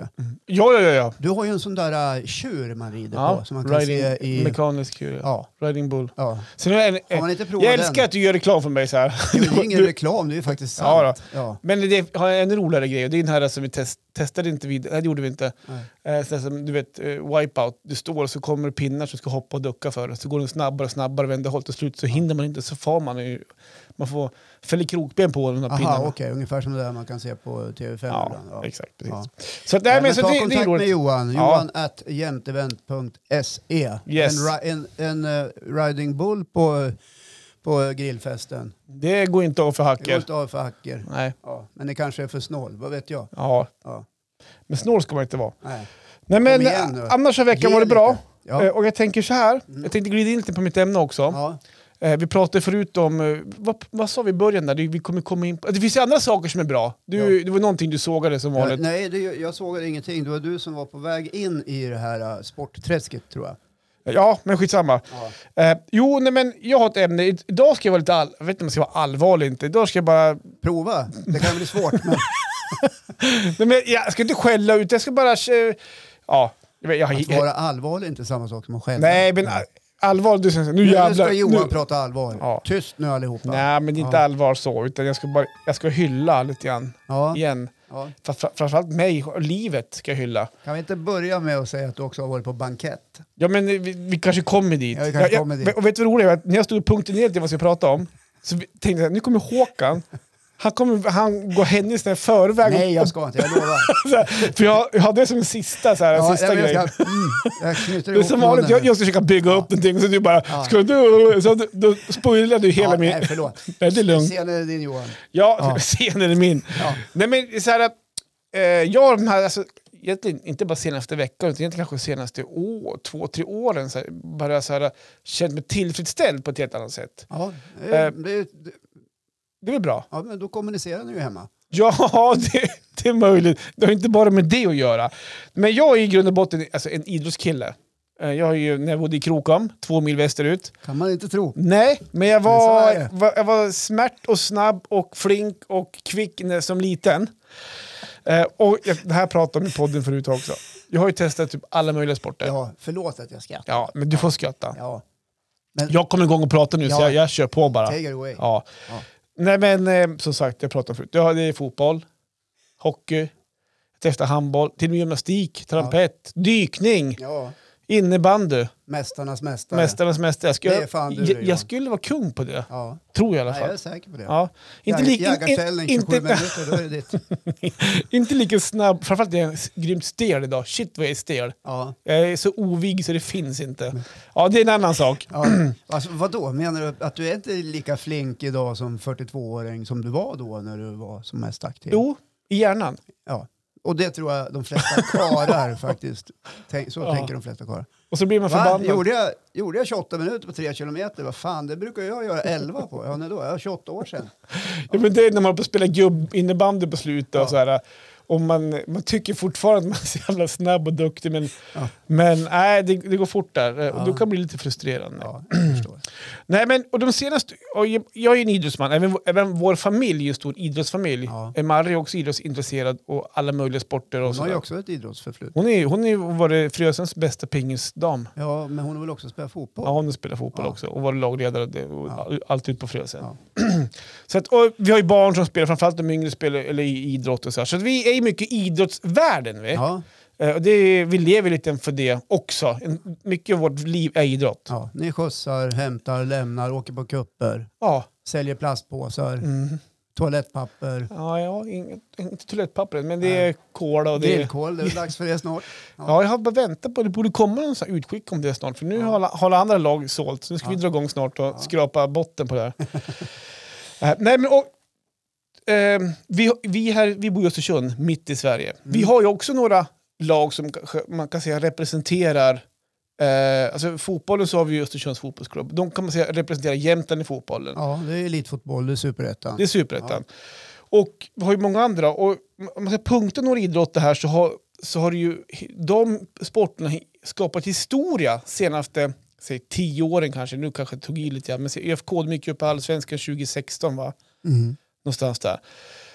Ja, ja, ja. ja.
Du har ju en sån där eh, tjur man rider
ja.
på som man kan
riding,
se i...
Mekanisk kur, ja.
Ja,
Riding bull.
ja.
Sen har jag en,
Har man inte provat
Jag älskar
den?
att du gör reklam för mig så här.
Jo, Det är ingen reklam, det är ju faktiskt
Ja,
sant. Ja,
Men det har jag en roligare grej och det är den här som vi test, testade inte vid, nej det gjorde vi inte.
Nej.
Eh, sån här som, du vet, eh, wipeout, du står och så kommer det pinnar som ska hoppa och ducka för en. Så går den snabbare och snabbare, vänder håll till slut så hinner man inte så far man ju, man får, fäller krokben på de här pinnarna.
Aha, okej. Ungefär som det där man kan se på TV5
Ja,
ibland. Ja.
exakt. Precis.
Ja.
Så, att- nej,
Nej,
men,
men
så
ta
det, det är
kontakt med
roligt.
Johan.
Ja.
Johan at jämtevent.se.
Yes.
En, ri- en, en eh, riding bull på, på grillfesten.
Det går inte av för
Det går
hacker.
inte av för hacker.
Nej,
Ja, men det kanske är för snål, vad vet jag.
ja.
Ja,
Men snål ska man inte vara.
nej.
Nej men eh,
igen nu.
annars har veckan
Ge
varit
lite.
bra. Eh,
Ja. Mm.
Och jag tänker så här, jag tänkte glida in lite på mitt ämne också.
Ja.
Eh, vi pratade förut om, eh, vad, vad sa vi i början där? Det- Vi kommer komma in på, det finns ju andra saker som är bra. Du, Det var någonting du sågade som
Ja,
vanligt.
nej, det, jag såg ingenting. Det var du som var på väg in i det här eh, sportträsket tror jag.
Ja, men skitsamma. Eh, jo, nej, men jag har ett ämne. I- Idag ska jag vara lite all... Jag vet inte om jag ska vara allvarlig eller inte. Idag ska jag bara...
Prova, det kan bli svårt. Men
Nej, men jag ska inte skälla ut. Jag ska bara... eh, Ja. Jag, vet- jag,
att
jag,
vara allvarlig är inte samma sak som att skälla.
nej, men allvarligt. Du säger så här, nu
Nu
jävlar.
ska Johan
nu-
prata allvar.
Ja.
Tyst nu allihopa.
Nej, men det är inte
Ja.
allvar så. Utan jag ska, bara, jag ska hylla lite grann.
Ja.
Igen.
Ja.
Fra- fra- Framförallt mig och livet ska jag hylla.
Kan vi inte börja med att säga att du också har varit på bankett?
Ja, men vi, vi kanske kommer dit.
Ja, vi kanske
jag,
kommer dit.
Och vet du vad roligt är? Att När jag stod och punkterade ner vad jag skulle prata om, så vi- tänkte jag nu kommer Håkan. Han kommer han går händelserna i förväg.
Nej, jag ska inte, jag lovar.
Så här, För jag, jag hade det som en sista, så här,
Ja,
sista
nej, men
grej.
jag, ska, mm, jag
Det
knyter
är
ihop
som vanligt,
munnen
jag,
nu.
jag ska försöka bygga upp någonting och så du bara...
Ja.
Ska du, så du, då spoilar du hela
ja,
min...
Nej, förlåt.
Nej, det är lugnt.
Scenen är din Johan.
Ja,
Ja.
scenen är min.
Ja.
Nej men så här, att, eh, jag har de här, alltså, egentligen inte bara senaste veckan, utan egentligen kanske senaste år, två, tre åren, så här, bara så här, känt mig tillfredsställd på ett helt annat sätt.
Ja, det,
Eh.
det, det,
Det är väl bra?
ja, men då kommunicerar ni ju hemma.
Ja, det, det är möjligt. Det har inte bara med det att göra. Men jag är i grund och botten alltså, en idrottskille. Eh, Jag har ju, när jag bodde i Krokom, två mil västerut.
Kan man inte tro.
Nej, men jag
Men så är
var,
det.
var, jag var smärt och snabb och flink och kvick när, som liten. Eh, och jag, det här pratade jag om i podden förut också. Jag har ju testat typ alla möjliga sporter. Ja,
Ja, förlåt att jag skrattar.
men du får skratta.
Ja,
Jag kommer igång och pratar nu så
Ja.
jag, jag kör på bara.
take it away.
Ja.
Ja.
Nej men eh, som sagt, jag pratade om förut. Jag, det är fotboll, hockey, testa handboll, till och med gymnastik, trampett, dykning,
Ja,
innebandy,
mästarnas mästare.
mästarnas mästare. Jag skulle,
Det är fan du,
jag,
Johan.
jag skulle vara kung på det.
Ja,
Tror jag i alla
nej,
fall.
jag är säker på det.
Ja. Inte, li- in, in,
Jägarställning, 27
inte,
minuter, då är det ditt.
inte lika snabb, framförallt är jag s- grymt stel idag. Shit vad jag är stel.
Ja.
Jag är så ovig så det finns
Mm.
inte. Ja, det är en annan sak.
Ja, alltså, vadå, menar du att du är inte lika flink idag som 42-åring som du var då när du var som mest aktiv?
Jo, i hjärnan.
Ja. Och det tror jag de flesta karlar faktiskt, tänk, så
Ja.
tänker de flesta karlar.
Och så blir man
Va?
förbannad.
Gjorde, jag, gjorde jag 28 minuter på 3 kilometer? Vad fan, det brukar jag göra 11 på. Ja, när då? Ja, 28 år sedan.
Ja, men det är när man på spela gubbinnebandy på slutet.
Ja.
Och så här, och man, man tycker fortfarande att man är så jävla snabb och duktig, men,
Ja.
men nej, det, det går fort där.
Ja.
Och då kan det bli lite frustrerande.
Ja, jag förstår.
Nej, men och de senaste, och jag jag är ju en idrottsman, även, även vår familj är ju en stor idrottsfamilj.
Ja.
Eh, Marre är också idrottsintresserad och alla möjliga sporter. Och
Hon har ju
sådär.
också ett idrottsförflutet.
Hon är hon är, varit Frösens bästa pingisdam.
Ja, men hon har väl också spelat fotboll?
Ja, hon spelar fotboll
Ja.
också och var lagledare och det- och all- allt ut på Frösön.
Ja.
så att, och vi har ju barn som spelar, framförallt de yngre spelar eller i idrott och så här. Så att vi är ju mycket i idrottsvärlden. Vi,
Ja,
Eh, och det är, vi lever lite för det också. En, mycket av vårt liv är idrott.
ja. Ni skjutsar, hämtar, lämnar, åker på kupper,
Ja,
säljer plastpåsar,
mm.
toalettpapper,
ja, ja inget, inte toalettpapperet men det
Nej.
är kola och det är...
grillkol. Det är väl dags för det snart.
Ja, jag har bara väntat på det. borde komma någon sån här utskick om det snart. För nu har, alla, har alla andra lag sålt. Så nu ska vi dra igång snart och skrapa botten på det här. Eh, Nej, men och, ehm, vi, vi, här, vi bor i Östersund, mitt i Sverige. Vi har ju också några lag som kanske man kan säga representerar Eh, alltså fotbollen så har vi ju Östersunds fotbollsklubb. De kan man säga representerar Jämtland i fotbollen.
Ja, det är elitfotboll, det är superettan.
Det är superettan. Och vi har ju många andra. Och om man ska punkta några idrotter här så har, så har det ju de sporterna skapat historia senaste säg, tio åren kanske. Nu kanske jag tog i lite grann. Men se, ÖFK de gick ju upp på Allsvenskan 2016 va?
Mm.
Någonstans där.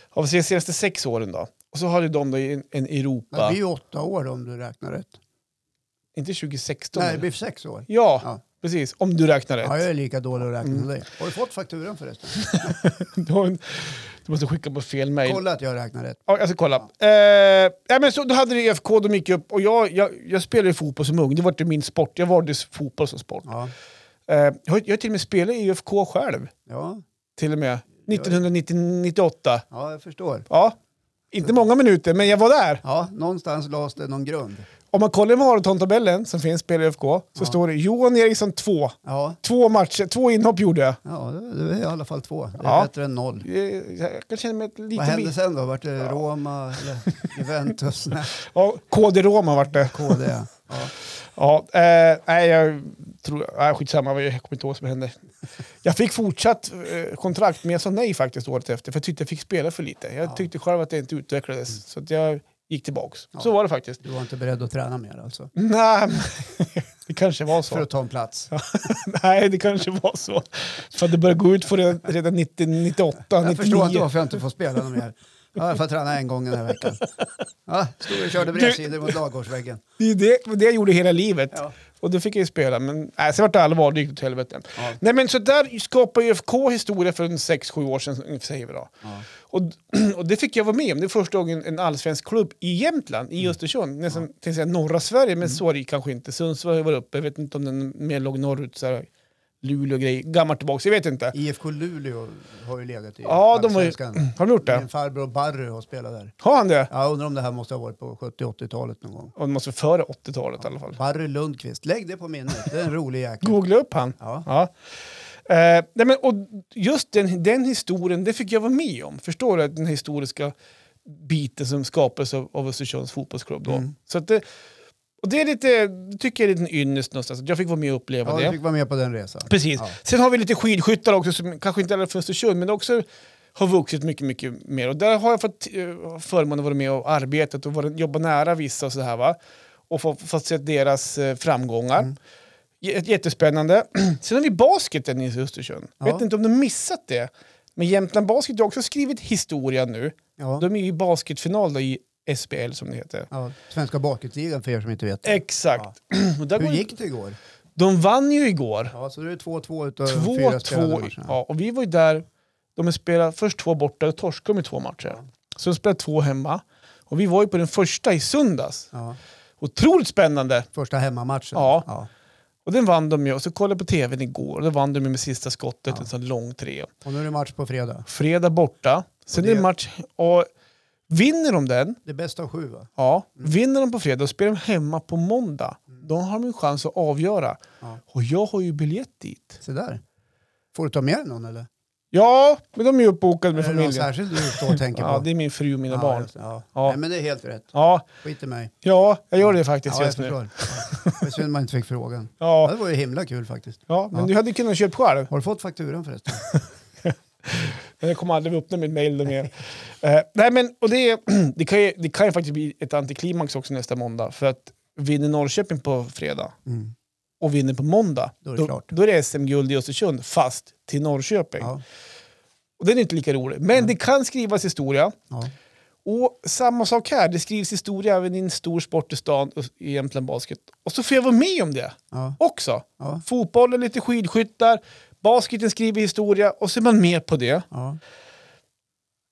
Av de senaste sex åren då. Och så har ju de då en, en
Men Det
Europa.
blir ju åtta år om du räknar rätt.
Inte 2016.
Nej, det
eller?
blir sex år.
ja,
Ja.
precis. Om du räknar rätt.
Ja, jag är lika dålig att räkna
Mm.
som dig. Har du fått fakturan förresten?
Du, har en, du måste skicka på fel mejl.
Kolla att jag räknar rätt.
Ja, jag ska kolla. Eh, ja, men så, då hade det IFK, de gick upp och jag, jag, jag spelade ju fotboll som ung. Det var inte min sport. Jag valde fotboll som sport.
Ja,
Eh, jag, har- jag har till och med spelat i IFK själv.
ja,
Till och med. 1998.
ja jag förstår.
Ja. Inte många minuter, men jag var där.
Ja, någonstans lades det någon grund.
Om man kollar i maratontabellen som finns, spelar i IFK, så står det Johan Eriksson 2.
Ja,
Två matcher, två inhopp gjorde jag.
ja det det är i alla fall två. Det är
Ja.
bättre än noll.
Eh, Jag kan känna mig lite...
Vad hände sen då? Vart det Roma eller Juventus? Nej,
Ja, KD Roma vart det.
KD. Ja.
Ja, eh, nej, jag tror... Nej, skitsamma, vad jag kommer inte ihåg vad som hände. Jag fick fortsatt eh, kontrakt, men jag sa nej faktiskt året efter, för jag tyckte jag fick spela för lite. Jag tyckte själv att det inte utvecklades. Så att jag gick tillbaks.
Mm. Ja.
Så var det faktiskt.
Du var inte beredd att träna mer alltså?
Nej, men det kanske var så.
För att ta en plats?
Nej, det kanske var så. För att det började gå ut för redan, redan 90, 98,
Jag förstår
99.
inte varför jag inte får spela någon mer. Ja, jag får träna en gång den här veckan. Ja, stod och körde
Du-
bredsidor mot ladugårdsväggen.
Det är det, det jag gjorde hela livet.
Ja.
Och då fick jag ju spela, men nej, sen vart det allvar, det gick åt helvete.
Ja.
Nej men så där skapade UFK historia för en 6-7 år sedan, ungefär, säger vi då.
Ja.
Och, och det fick jag vara med om, det är första gången en allsvensk klubb i Jämtland,
Mm.
i Östersund, nästan tänkte säga norra Sverige, men så är det ju kanske inte. Sundsvall var uppe, jag vet inte om den mer låg norrut, så här, Luleå grej, gammalt tillbaks, jag vet inte.
IFK Luleå har ju legat i
Ja, de var ju-
Allsvenskan.
Har de gjort det?
Min farbror Barry har spelat där.
Har han det?
Jag undrar om det här måste ha varit på 70-80-talet någon gång.
Och det måste vara före 80-talet i alla fall.
Barry Lundqvist, lägg det på minnet. Det är en rolig jäkel.
Googla upp han.
Ja.
Ja. Eh, nej men, och just den, den historien, det fick jag vara med om. Förstår du? Den historiska biten som skapades av, av Östersunds fotbollsklubb då.
Mm.
Så att det, och det är lite, det tycker jag är en liten ynnest någonstans. att Jag fick vara med och uppleva
Ja,
det.
du fick vara med på den resan.
Precis.
Ja.
Sen har vi lite skidskyttar också, som kanske inte är från Östersund, men också har vuxit mycket, mycket mer. Och där har jag fått eh, förmånen att vara med och arbetat och varit, jobba nära vissa och så här va. Och få- fått se deras eh, framgångar.
Mm.
J- Jättespännande. Sen har vi basketen i Östersund.
Ja.
Vet inte om du missat det. Men Jämtland Basket har också skrivit historia nu.
Ja.
De är ju i basketfinal då, i SBL som det heter.
Ja, Svenska bakåtligan för er som inte vet.
Exakt. Och där
Hur
går det-
gick det igår?
De vann ju igår.
Ja, så det är 2-2 utav fyra spelade
2-2.
matcher.
Ja, och vi var ju där. De spelade först två borta och torskade med två matcher. Så de spelade två hemma. Och vi var ju på den första i söndags.
Ja.
Otroligt spännande!
Första hemmamatchen.
Ja.
Ja.
Och den vann de ju. Och så kollade jag på tvn igår. Och då vann de ju med sista skottet, en sån lång tre.
Och nu är det match på fredag.
Fredag borta. Sen
Och det-
är det match. Och vinner de den,
Det är bäst av sju va?
ja. Vinner de på fredag och spelar de hemma på måndag. Då har de ju chans att avgöra.
Mm. Ja.
Och jag har ju biljett dit.
Se där. Får du ta med dig någon eller?
Ja, men de är ju uppbokade med
Är det någon
familjen.
särskild du står och tänker på?
Ja, det är min fru och mina
Ja,
barn.
just det. Ja.
Ja.
Nej, men det är helt rätt.
Ja,
Skit i mig.
ja, jag gör det faktiskt
Ja, jag
just nu.
förstår. Ja. Det är synd man inte fick frågan. Ja,
Ja,
det var ju himla kul faktiskt.
ja, men
Ja.
du hade kunnat köpa själv.
Har du fått fakturan förresten?
Men Jag kommer aldrig öppna mitt mail mer. Eh, nej, men och det, är- det, kan ju, det kan ju faktiskt bli ett antiklimax också nästa måndag. För att vinner Norrköping på fredag
Mm.
och vinner på måndag,
Då är det klart.
då är det SM-guld i Östersund, fast till Norrköping.
Ja. Mm.
Och den är inte lika rolig. Men det kan skrivas historia.
Ja.
Och samma sak här, det skrivs historia även i en stor sport i stan, i Jämtland Basket. Och så får jag vara med om det
Ja.
också.
Ja.
Fotbollen, lite skidskyttar, basketen skriver historia och så är man med på det.
Ja.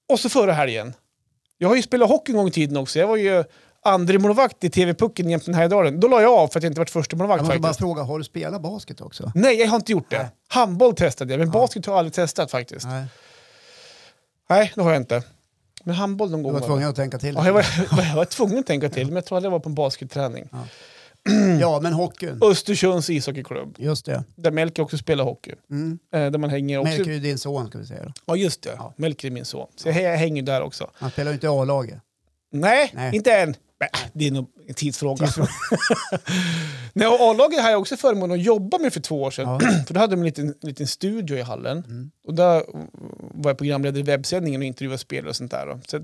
Och så förra helgen. Jag har ju spelat hockey en gång i tiden också. Jag var ju andra målvakt i TV-pucken i Jämtland Härjedalen. Då la jag av för att jag inte varit första
Jag
målvakt
måste bara
faktiskt. Mm.
fråga, har du spelat basket också?
Nej, jag har inte gjort det.
Nej.
Handboll testade jag, men basket har jag aldrig testat faktiskt.
Nej.
Nej, det har jag inte. Men handboll någon
Du
gång.
var
var
tvungen att tänka till.
det. Ja, jag, var, jag var tvungen att tänka till, men jag tror aldrig jag var på en basketträning.
Ja, men hockeyn.
Östersunds ishockeyklubb,
Just det.
där Melker också spelar hockey.
Mm.
Eh, Där man hänger också.
Melker är ju din son ska vi säga. Då.
Ja, just det. Melker är min son. Så jag hä- jag hänger där också.
Han spelar ju inte i A-laget.
Nej,
Nej.
inte än. Bä, Det är nog en tidsfråga. Nej, och A-laget hade jag också förmånen att jobba med för två år sedan.
Ja.
För då hade de en liten, liten studio i hallen. Och där var jag programledare i webbsändningen och intervjuade spelare och sånt där. Då. Så, att,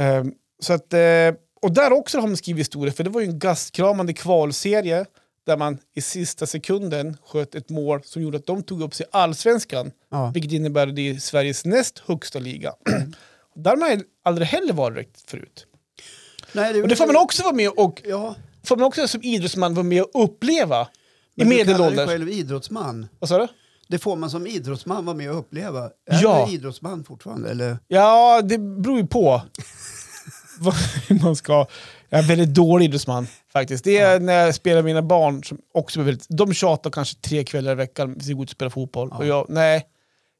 ehm, så att, eh, och där också har man skrivit historia, för det var ju en gastkramande kvalserie där man i sista sekunden sköt ett mål som gjorde att de tog upp sig i allsvenskan.
Ja.
Vilket innebär att det är Sveriges näst högsta liga. Där har man aldrig heller varit riktigt förut.
Nej,
Och det får man också vara med och
Ja,
får man också som idrottsman vara med och uppleva
men
i
Du kallar dig
medelålders.
själv idrottsman.
Vad sa du?
Det får man som idrottsman vara med och uppleva. Är
Ja.
du idrottsman fortfarande? Eller?
Ja, det beror ju på vad man ska... Jag är en väldigt dålig idrottsman faktiskt. Det är när jag spelar med mina barn som också är väldigt... De tjatar kanske tre kvällar i veckan vi ska gå ut och spela fotboll. Och jag, nej,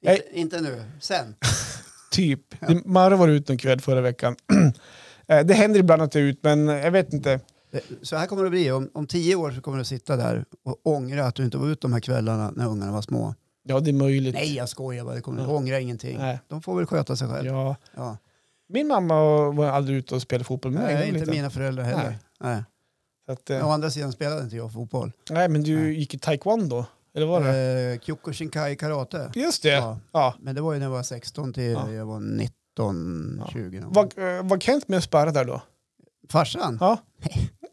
Nej.
Inte, inte nu, sen.
typ. Det- Marre var ute en kväll förra veckan. Eh, det händer ibland att jag är ute, men jag vet inte.
Eh, Så här kommer det bli. Om, om tio år så kommer du sitta där och ångra att du inte var ute de här kvällarna när ungarna var små.
Ja, det är möjligt.
Nej, jag skojar bara. Du kommer
Ja.
ångra ingenting.
Nej.
De får väl sköta sig själva. Ja.
Ja. Min mamma var aldrig ute och spelade fotboll med mig.
Nej, inte
lite.
mina föräldrar heller. Nej.
Nej. Så att, eh,
Å andra sidan spelade inte jag fotboll.
Nej, men du gick i taekwondo, eller var det?
Eh, Kyokushinkai karate.
Just det.
Eh, ja.
Ja.
Men det var ju när jag var 16 till
Ja.
jag var 19,
Ja.
20. någon gång.
Var, eh, var Kent med och sparrade där då?
Farsan?
Ja.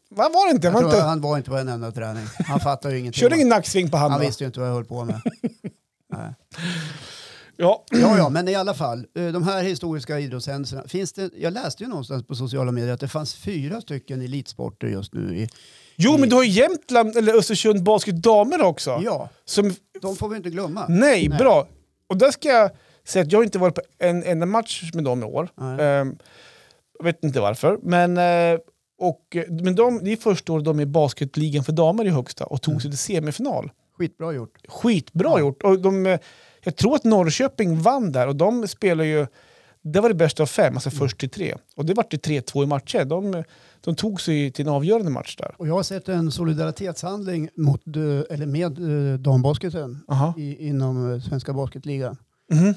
Vad var det inte?
Jag
Var
tror
inte...
han var inte på en enda träning. Han fattade ju ingenting.
Körde ingen nacksving på
han
handen?
visste ju inte vad jag höll på med. Nej.
Ja.
Ja, ja, men i alla fall. eh, De här historiska idrottshändelserna. Finns det, jag läste ju någonstans på sociala medier att det fanns fyra stycken elitsporter just nu. I,
Jo, men du har ju Jämtland, eller Östersund Basket damer också.
ja,
Som
de får vi inte glömma.
Nej,
Nej.
bra. Och där ska jag säga att jag har inte varit på en enda match med dem i år.
Nej.
Ehm, jag vet inte varför. Men, eh, och, men de, det är första året de är i basketligan för damer i högsta och
Mm.
tog sig till semifinal.
Skitbra gjort.
Skitbra
Ja.
gjort. Och de, eh, jag tror att Norrköping vann där och de spelar ju... Det var det bästa av fem, alltså först till tre. Och det var till 3-2 i matcher. De, de tog sig till en avgörande match där.
Och jag har sett en solidaritetshandling mot, eh, eller med eh, dambasketen
Aha.
i, inom eh, Svenska Basketligan.
Mhm.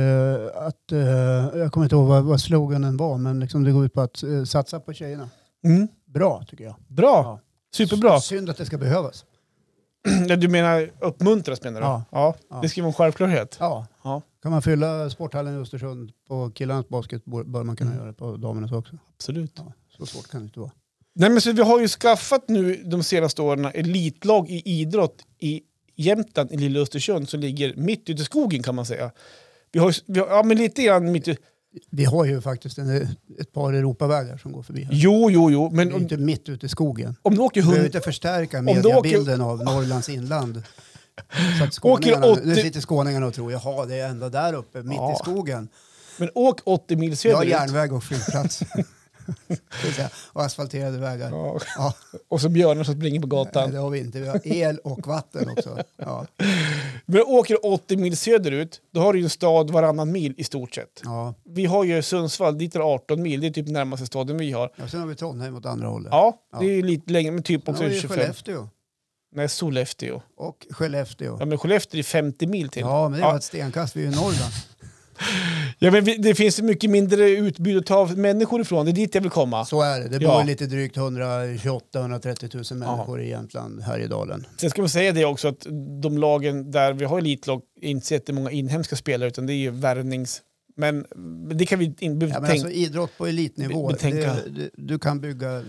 Eh, att, eh, jag kommer inte ihåg vad, vad sloganen var, men liksom det går ut på att eh, satsa på tjejerna.
Mm.
Bra, tycker jag.
Bra!
Ja.
Superbra!
Synd att det ska behövas.
Ja, Du menar uppmuntras menar du?
Ja.
ja. Det ska vara en självklarhet.
Ja.
Ja.
Kan man fylla sporthallen i Östersund på killarnas basket bör bör man kunna göra det på damernas också.
Absolut.
Ja, så svårt kan det inte vara.
Nej, men så vi har ju skaffat nu de senaste åren elitlag i idrott i Jämtland, i lilla Östersund, som ligger mitt ute i skogen kan man säga. Vi har, ju- vi har ja, men lite grann mitt ute.
Vi har ju faktiskt en, ett par Europavägar som går förbi här.
Jo, jo, jo, men
Det är
om,
inte mitt ute i skogen.
om du åker
Vi behöver
100...
inte förstärka
du åker-
mediebilden av Norrlands inland. Så att skåningarna,
Åker 80
Nu sitter skåningarna och tror, jaha det är ända där uppe, mitt
Ja.
i skogen.
Men åk 80 mil
Vi har
söderut.
järnväg och flygplats. Det vill säga, och asfalterade vägar. Ja.
Ja. Och så björnar som springer på
Nej,
gatan.
det har vi inte. Vi har el och vatten också. Ja,
Men åker 80 mil söderut, då har du ju en stad varannan mil i stort sett.
ja.
Vi har ju Sundsvall, dit är det 18 mil, det är typ närmaste staden vi har.
Och sen har vi Trondheim åt andra hållet.
Ja,
Ja.
det är ju lite längre, men typ
Sen
också
har vi
25.
Skellefteå.
Nej, Sollefteå.
Och Skellefteå.
Ja, men Skellefteå är 50 mil till.
Ja, men det var ett stenkast. Vi är ju i Norrland.
Ja, men vi- det finns ju mycket mindre utbud att ta av människor ifrån. Det är dit jag vill komma.
Så är det. Det bor
Ja.
lite drygt 128-130 000 människor i Jämtland, Härjedalen.
Sen ska man säga det också att de lagen där vi har elitlag är inte så jättemånga inhemska spelare utan det är ju värvnings... Men det kan vi inte
Ja,
tänka...
men alltså, idrott på elitnivå,
Be- betänka.
det, det, du kan bygga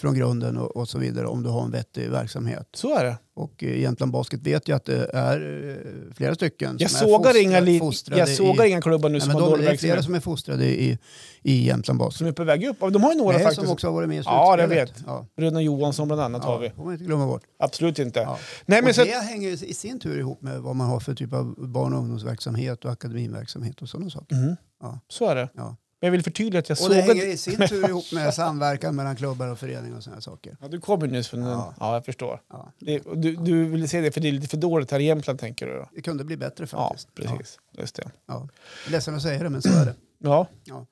från grunden och, och så vidare om du har en vettig verksamhet.
Så är det.
Och eh, Jämtland Basket vet ju att det är eh, flera stycken
Jag
som
sågar,
är
inga,
fostrade,
li...
fostrade
jag sågar
i,
inga klubbar nu
nej,
som
men
har
de,
dålig
Det är flera
verksamhet.
som är fostrade i, i Jämtland Basket.
Som är på väg upp. Ja, De har ju några
Nej,
faktiskt.
som också har varit med i slutspelet.
Ja, det vet.
Ja.
Rune Johansson bland annat har vi.
får man inte glömma bort.
Absolut inte.
Ja.
Nej, men
och
så...
det hänger ju i sin tur ihop med vad man har för typ av barn och ungdomsverksamhet och akademinverksamhet och sådana saker.
Mhm.
Ja.
Så är det.
Ja.
Men jag vill förtydliga att jag
Och det
sågade...
hänger i sin tur ihop med samverkan mellan klubbar och föreningar och sådana saker.
Ja, du kommer nyss från en...
Ja.
Ja. jag förstår.
Ja.
Det, och du, du ville säga det för det är lite för dåligt här i Jämtland tänker du? Då?
Det kunde bli bättre
Ja,
faktiskt.
precis. Just det.
Ja, ja. Ledsen att säga det, men så är det.
Ja.
Ja.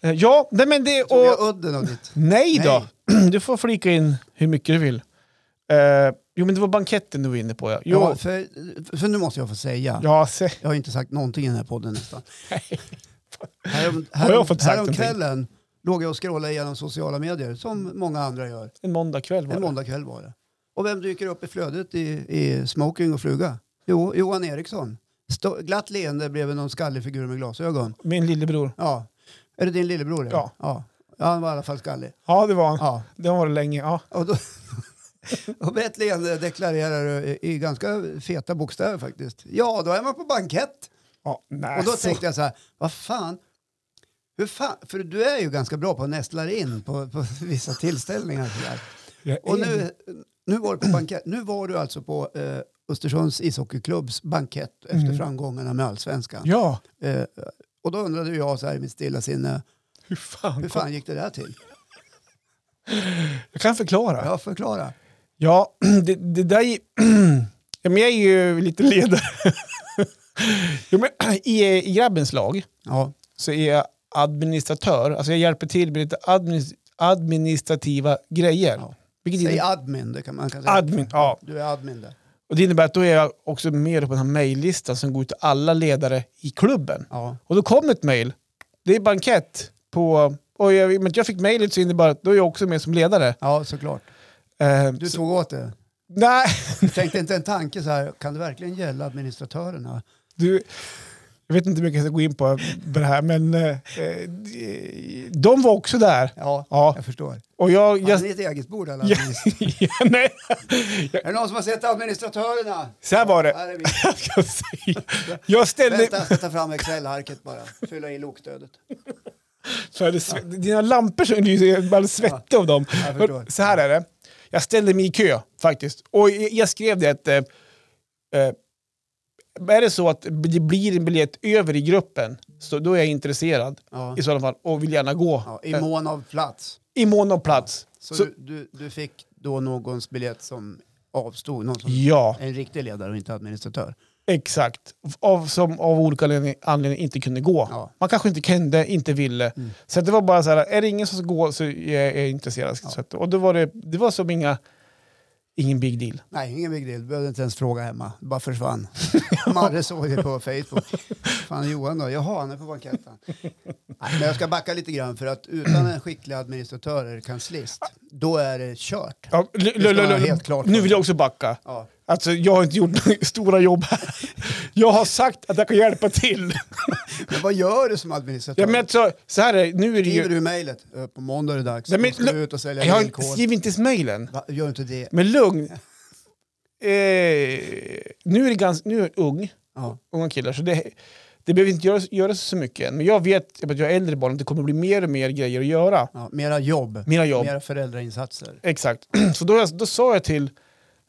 Eh, Ja, nej men det...
Tog
Och,
jag udden av ditt?
nej då! Du får flika in hur mycket du vill. Eh, jo, men det var banketten du var inne på. Ja, jo,
Ja,
ja.
för, för nu måste jag få säga.
se.
Jag har inte sagt någonting i den här podden nästan.
Nej.
Härom,
Har jag
härom,
fått sagt
häromkvällen låg jag och scrollade igenom sociala medier, som många andra gör.
En måndagkväll var
En
det.
måndagkväll var det. Och vem dyker upp i flödet i, i smoking och fluga? Jo, Johan Eriksson. Stå, glatt leende bredvid någon skallig figur med glasögon.
Min lillebror.
Ja. Är det din lillebror?
Ja.
ja. Ja, han var i alla fall skallig.
Ja, det var han.
Ja.
Det var det länge. Ja.
Och, då, och med ett leende deklarerar du i- i ganska feta bokstäver faktiskt. Ja, då är man på bankett.
Ja, nej,
Och då
så-
tänkte jag så här, vad fan? Hur fan? För du är ju ganska bra på att nästla dig in på, på vissa tillställningar. Så där.
jag är-
Och nu, nu, var du på bankett, nu var du alltså på eh, Östersunds ishockeyklubbs bankett efter
Mm.
framgångarna med allsvenskan.
Ja,
Eh, och då undrade jag så här i mitt stilla sinne,
hur fan?
hur fan gick det där till?
Jag kan förklara.
Ja, förklara.
Ja, det, det där... är- ja, men jag är ju lite ledare. jo, men, i, I grabbens lag
Ja,
så är jag administratör. Alltså jag hjälper till med lite administ- administrativa grejer.
Ja.
Vilket
säg
innebär,
admin, det kan man kan säga.
admin, ja.
Du är admin där.
Och det innebär att då är jag också med på den här mejllistan som går ut till alla ledare i klubben.
Ja.
Och då kom ett mejl. Det är bankett på... Och jag, men jag fick mejlet så innebar det att då är jag också med som ledare.
ja, såklart.
Eh,
Du
så,
tog åt det.
nej,
Du tänkte inte en tanke så här, kan det verkligen gälla administratörerna?
du... Jag vet inte hur mycket jag ska gå in på det här, men eh, eh, de var också där.
Ja,
Ja,
jag förstår.
och jag...
Hade
jag
ni ett eget bord alla?
Ja. ja, nej,
Är det någon som har sett administratörerna?
så här var det.
Här är vi.
Jag, ska säga. jag ställde...
Vänta, jag ska ta fram Excel-arket bara. Fylla i lokdödet.
Så hade sve- Dina lampor som lyser, jag blir alldeles svettig av dem.
jag förstår.
Så här är det. Jag ställde mig i kö faktiskt. Och jag jag skrev det att eh, eh, är det så att det blir en biljett över i gruppen, så då är jag intresserad
Ja.
i sådana fall och vill gärna gå. eh,
Ja, I mån av plats.
I mån av plats.
Så,
Så-
Du, du, du fick då någons biljett som avstod? Någon som,
Ja,
En riktig ledare och inte administratör?
exakt. Av, som av olika anledning- anledningar inte kunde gå.
Ja. Mm.
Man kanske inte kunde, inte ville. Så att det var bara så här, är det ingen som ska gå så är jag intresserad. Så att, och då var det, det var som inga, ingen big deal.
Nej, ingen big deal. Du behövde inte ens fråga hemma. Det bara försvann. Marre såg det på Facebook. Fan Johan då? Jaha, han är på banketten. Nej, men jag ska backa lite grann för att utan en skicklig administratör eller kanslist, då är det kört.
Ja, l-
ska
l-
man ha
l-
helt klart
nu
för
vill
sig.
jag också backa.
Ja.
Alltså, jag har inte gjort några stora jobb här. Jag har sagt att jag kan hjälpa till.
Men vad gör du som administratör?
Ja, men alltså, så här är det, nu är det
Skriver
ju...
du mejlet? Eh, På måndag är det dags.
Nej, men
Då ska
lu-
du ut och sälja
Jag har inte-
villkor.
skriver inte ens mejlen.
Va, gör inte det.
Men lugn. Eh, nu är det ganska, nu är jag ung,
Ja.
unga killar, så det, det behöver inte göras, göras så mycket än. Men jag vet att jag är äldre barn, att det kommer bli mer och mer grejer att göra.
Ja, mera jobb.
Mina jobb.
Mera föräldrainsatser.
Exakt. Så då, då sa jag till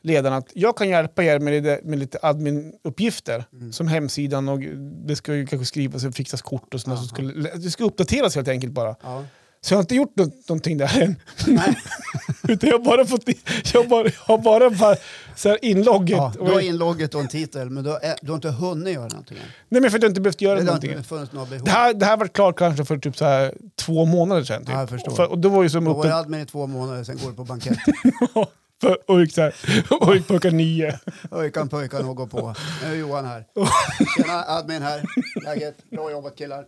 ledarna att jag kan hjälpa er med lite, med lite adminuppgifter. Som hemsidan och det ska ju kanske skrivas och fixas kort och sånt. där som skulle, det ska uppdateras helt enkelt bara.
Ja.
Så jag har inte gjort nå- någonting där än.
Nej.
Utan jag har bara fått i- jag har bara, jag har bara, bara så här inlogget.
Ja, du
Och
har
jag-
inlogget och en titel, men du har, eh, du har inte hunnit göra någonting. än.
Nej men för att jag inte behövt göra
Det har
någonting.
inte funnits några behov.
Det här, det här var klart kanske för typ så här två månader sedan. Typ.
Ja, jag förstår.
För, och det var ju som
Då var det
uppe
admin i två månader, sen går du på bankett.
för, och gick så här, och gick på klockan nio.
Öjkan pöjkan och går på. Nu är Johan här. Tjena, admin här. Läget? Bra jobbat killar.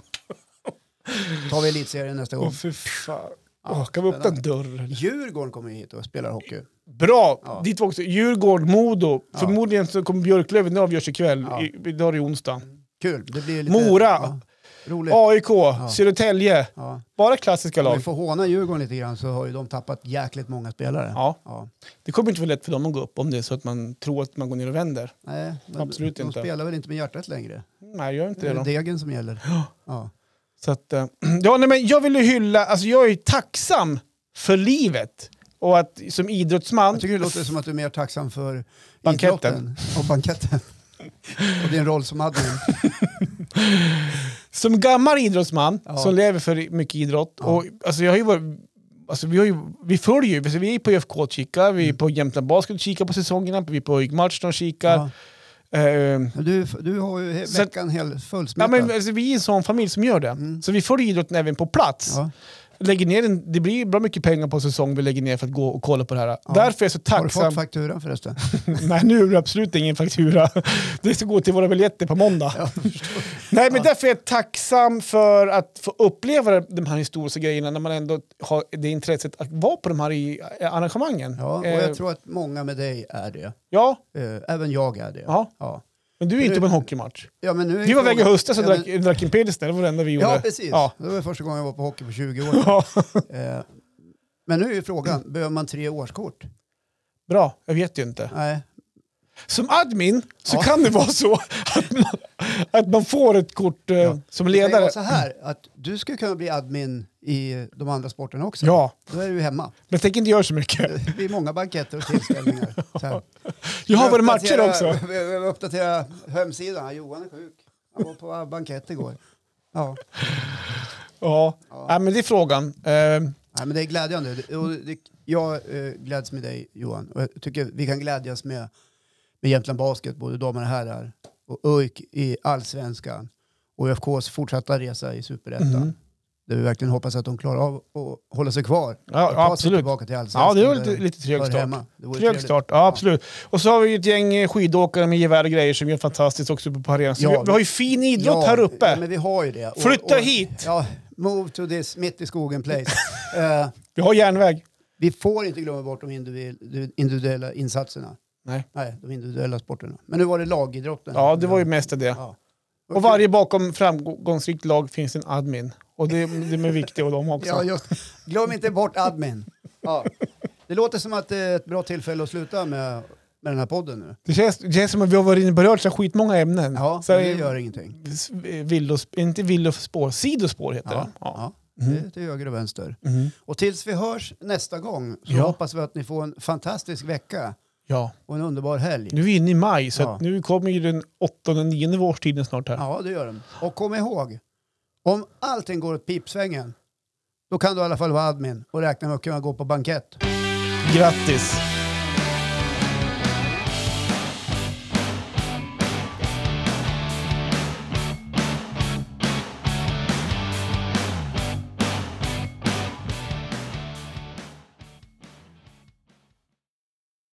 tar vi elitserien nästa
Åh
gång.
fy fan. Åh, kan vi öppna en dörr?
Djurgården kommer ju hit och spelar hockey.
Bra!
Ja.
Dit var också Djurgården, Modo. Förmodligen så kommer Björklöven, det avgörs ikväll.
Ja.
I, idag är det onsdag.
Kul. Det blir lite,
Mora.
Ja, roligt.
AIK, Södertälje.
Ja.
Bara klassiska
Om vi
lag.
får håna Djurgården lite grann så har ju de tappat jäkligt många spelare.
Ja.
Ja.
Det kommer inte vara lätt för dem att gå upp om det är så att man tror att man går ner och vänder.
Nej, men
Absolut
de
inte.
spelar väl inte med hjärtat längre?
Nej, gör inte
Det
det
är
då.
degen som gäller. Ja.
Så att, eh, ja, nej, men jag vill ju hylla, alltså jag är tacksam för livet. Och att som idrottsman...
Jag tycker det låter som att du är mer tacksam för
Banketten.
idrotten och banketten. och din roll som admin.
Som gammal idrottsman
Ja.
som lever för mycket idrott.
Ja.
Och, alltså, jag har ju varit, alltså, vi, har ju, vi följer ju, alltså, vi är på IFK och kikar, vi är
Mm.
på Jämtland Basket och kikar på säsongerna, vi är på ÖIK Matchen och kikar.
Ja.
Ja. Eh,
Du, du har ju he-
Så-
veckan helt
ja,
fullsmittad.
men, alltså, vi är en sån familj som gör det.
Mm.
Så vi följer idrotten även på plats.
Ja.
Lägger ner en, det blir bra mycket pengar på säsong vi lägger ner för att gå och kolla på det här.
Ja.
Därför är jag så
Har du fått
tacksam.
fakturan förresten?
Nej, nu är det absolut ingen faktura. Det ska gå till våra biljetter på måndag. Nej, men därför är jag tacksam för att få uppleva de här historiska grejerna när man ändå har det intresset att vara på de här i, eh, arrangemangen.
Ja, och
Eh,
jag tror att många med dig är det.
ja,
Eh, Även jag är det.
Ja.
Ja.
men du är inte
Nu-
på en hockeymatch.
Ja, men nu är
Vi var iväg i
frågan-
höstas och
Ja, men-
drack, drack en pilsner, det var det enda vi gjorde.
Ja, precis.
Ja.
Det var första gången jag var på hockey på 20 år.
Ja.
Eh, Men nu är ju frågan, behöver man tre årskort?
Bra, jag vet ju inte.
Nej,
Som admin så
Ja.
kan det vara så att man, att man får ett kort eh,
Ja.
som
Det kan ju vara
ledare.
så här, att du skulle kunna bli admin i de andra sporterna också.
Ja,
Då är du ju hemma.
men jag tänker inte göra så mycket.
Det blir många banketter och tillställningar. Så här.
Jag har
Vi
varit matcher
uppdaterar-
också.
Vi vi uppdaterar hemsidan. Johan är sjuk. Han var på bankett igår. Ja.
Ja,
Ja.
Nej, men det är frågan. Eh,
Nej, men det är glädjande. Det- och det- Jag eh, gläds med dig Johan. Och jag tycker vi kan glädjas med, med Jämtland Basket, både damer och herrar. Och ÖIK i allsvenskan. Och IFKs fortsatta resa i superettan.
Mhm.
Där vi verkligen hoppas att de klarar av att hålla sig kvar.
Ja,
Och ta sig
absolut.
tillbaka till allsvenskan.
ja, det var
där
lite,
de
lite
hör
trög start.
hemma. Det vore
Trög
trevligt.
start, ja absolut. Och så har vi ju ett gäng eh, skidåkare med gevär och grejer som gör fantastiskt också uppe på arenan. Så
Ja,
vi, vi har ju fin idrott här uppe.
Ja, men vi har ju det. Och-
Flytta
och-
hit!
Ja, move to this mitt i skogen place. Eh,
Vi har järnväg.
vi får inte glömma bort de individu- individuella insatserna.
Nej.
Nej, de individuella sporterna. Men nu var det lagidrotten.
Ja, det var ju mest av det.
Ja.
Och varje bakom framgångsrikt lag finns en admin. Och det, de är viktiga och de också.
Ja, just. Glöm inte bort admin. Ja. Det låter som att det är ett bra tillfälle att sluta med, med den här podden nu.
Det, känns, det känns som att vi har varit inne och berört så här skitmånga ämnen.
Ja,
så
men det
här-
gör ingenting.
s- villos, inte villospår, sidospår heter
Ja,
det. Ja.
ja. Mm. Det är till höger och vänster.
Mhm.
Och tills vi hörs nästa gång så
Ja.
hoppas vi att ni får en fantastisk vecka
ja.
och en underbar helg.
Nu är vi inne i maj så
Ja.
att nu kommer ju den åttonde, nionde årstiden snart här.
Ja, det gör den. Och kom ihåg, om allting går åt pipsvängen, då kan du i alla fall vara admin och räkna med att kunna gå på bankett.
Grattis!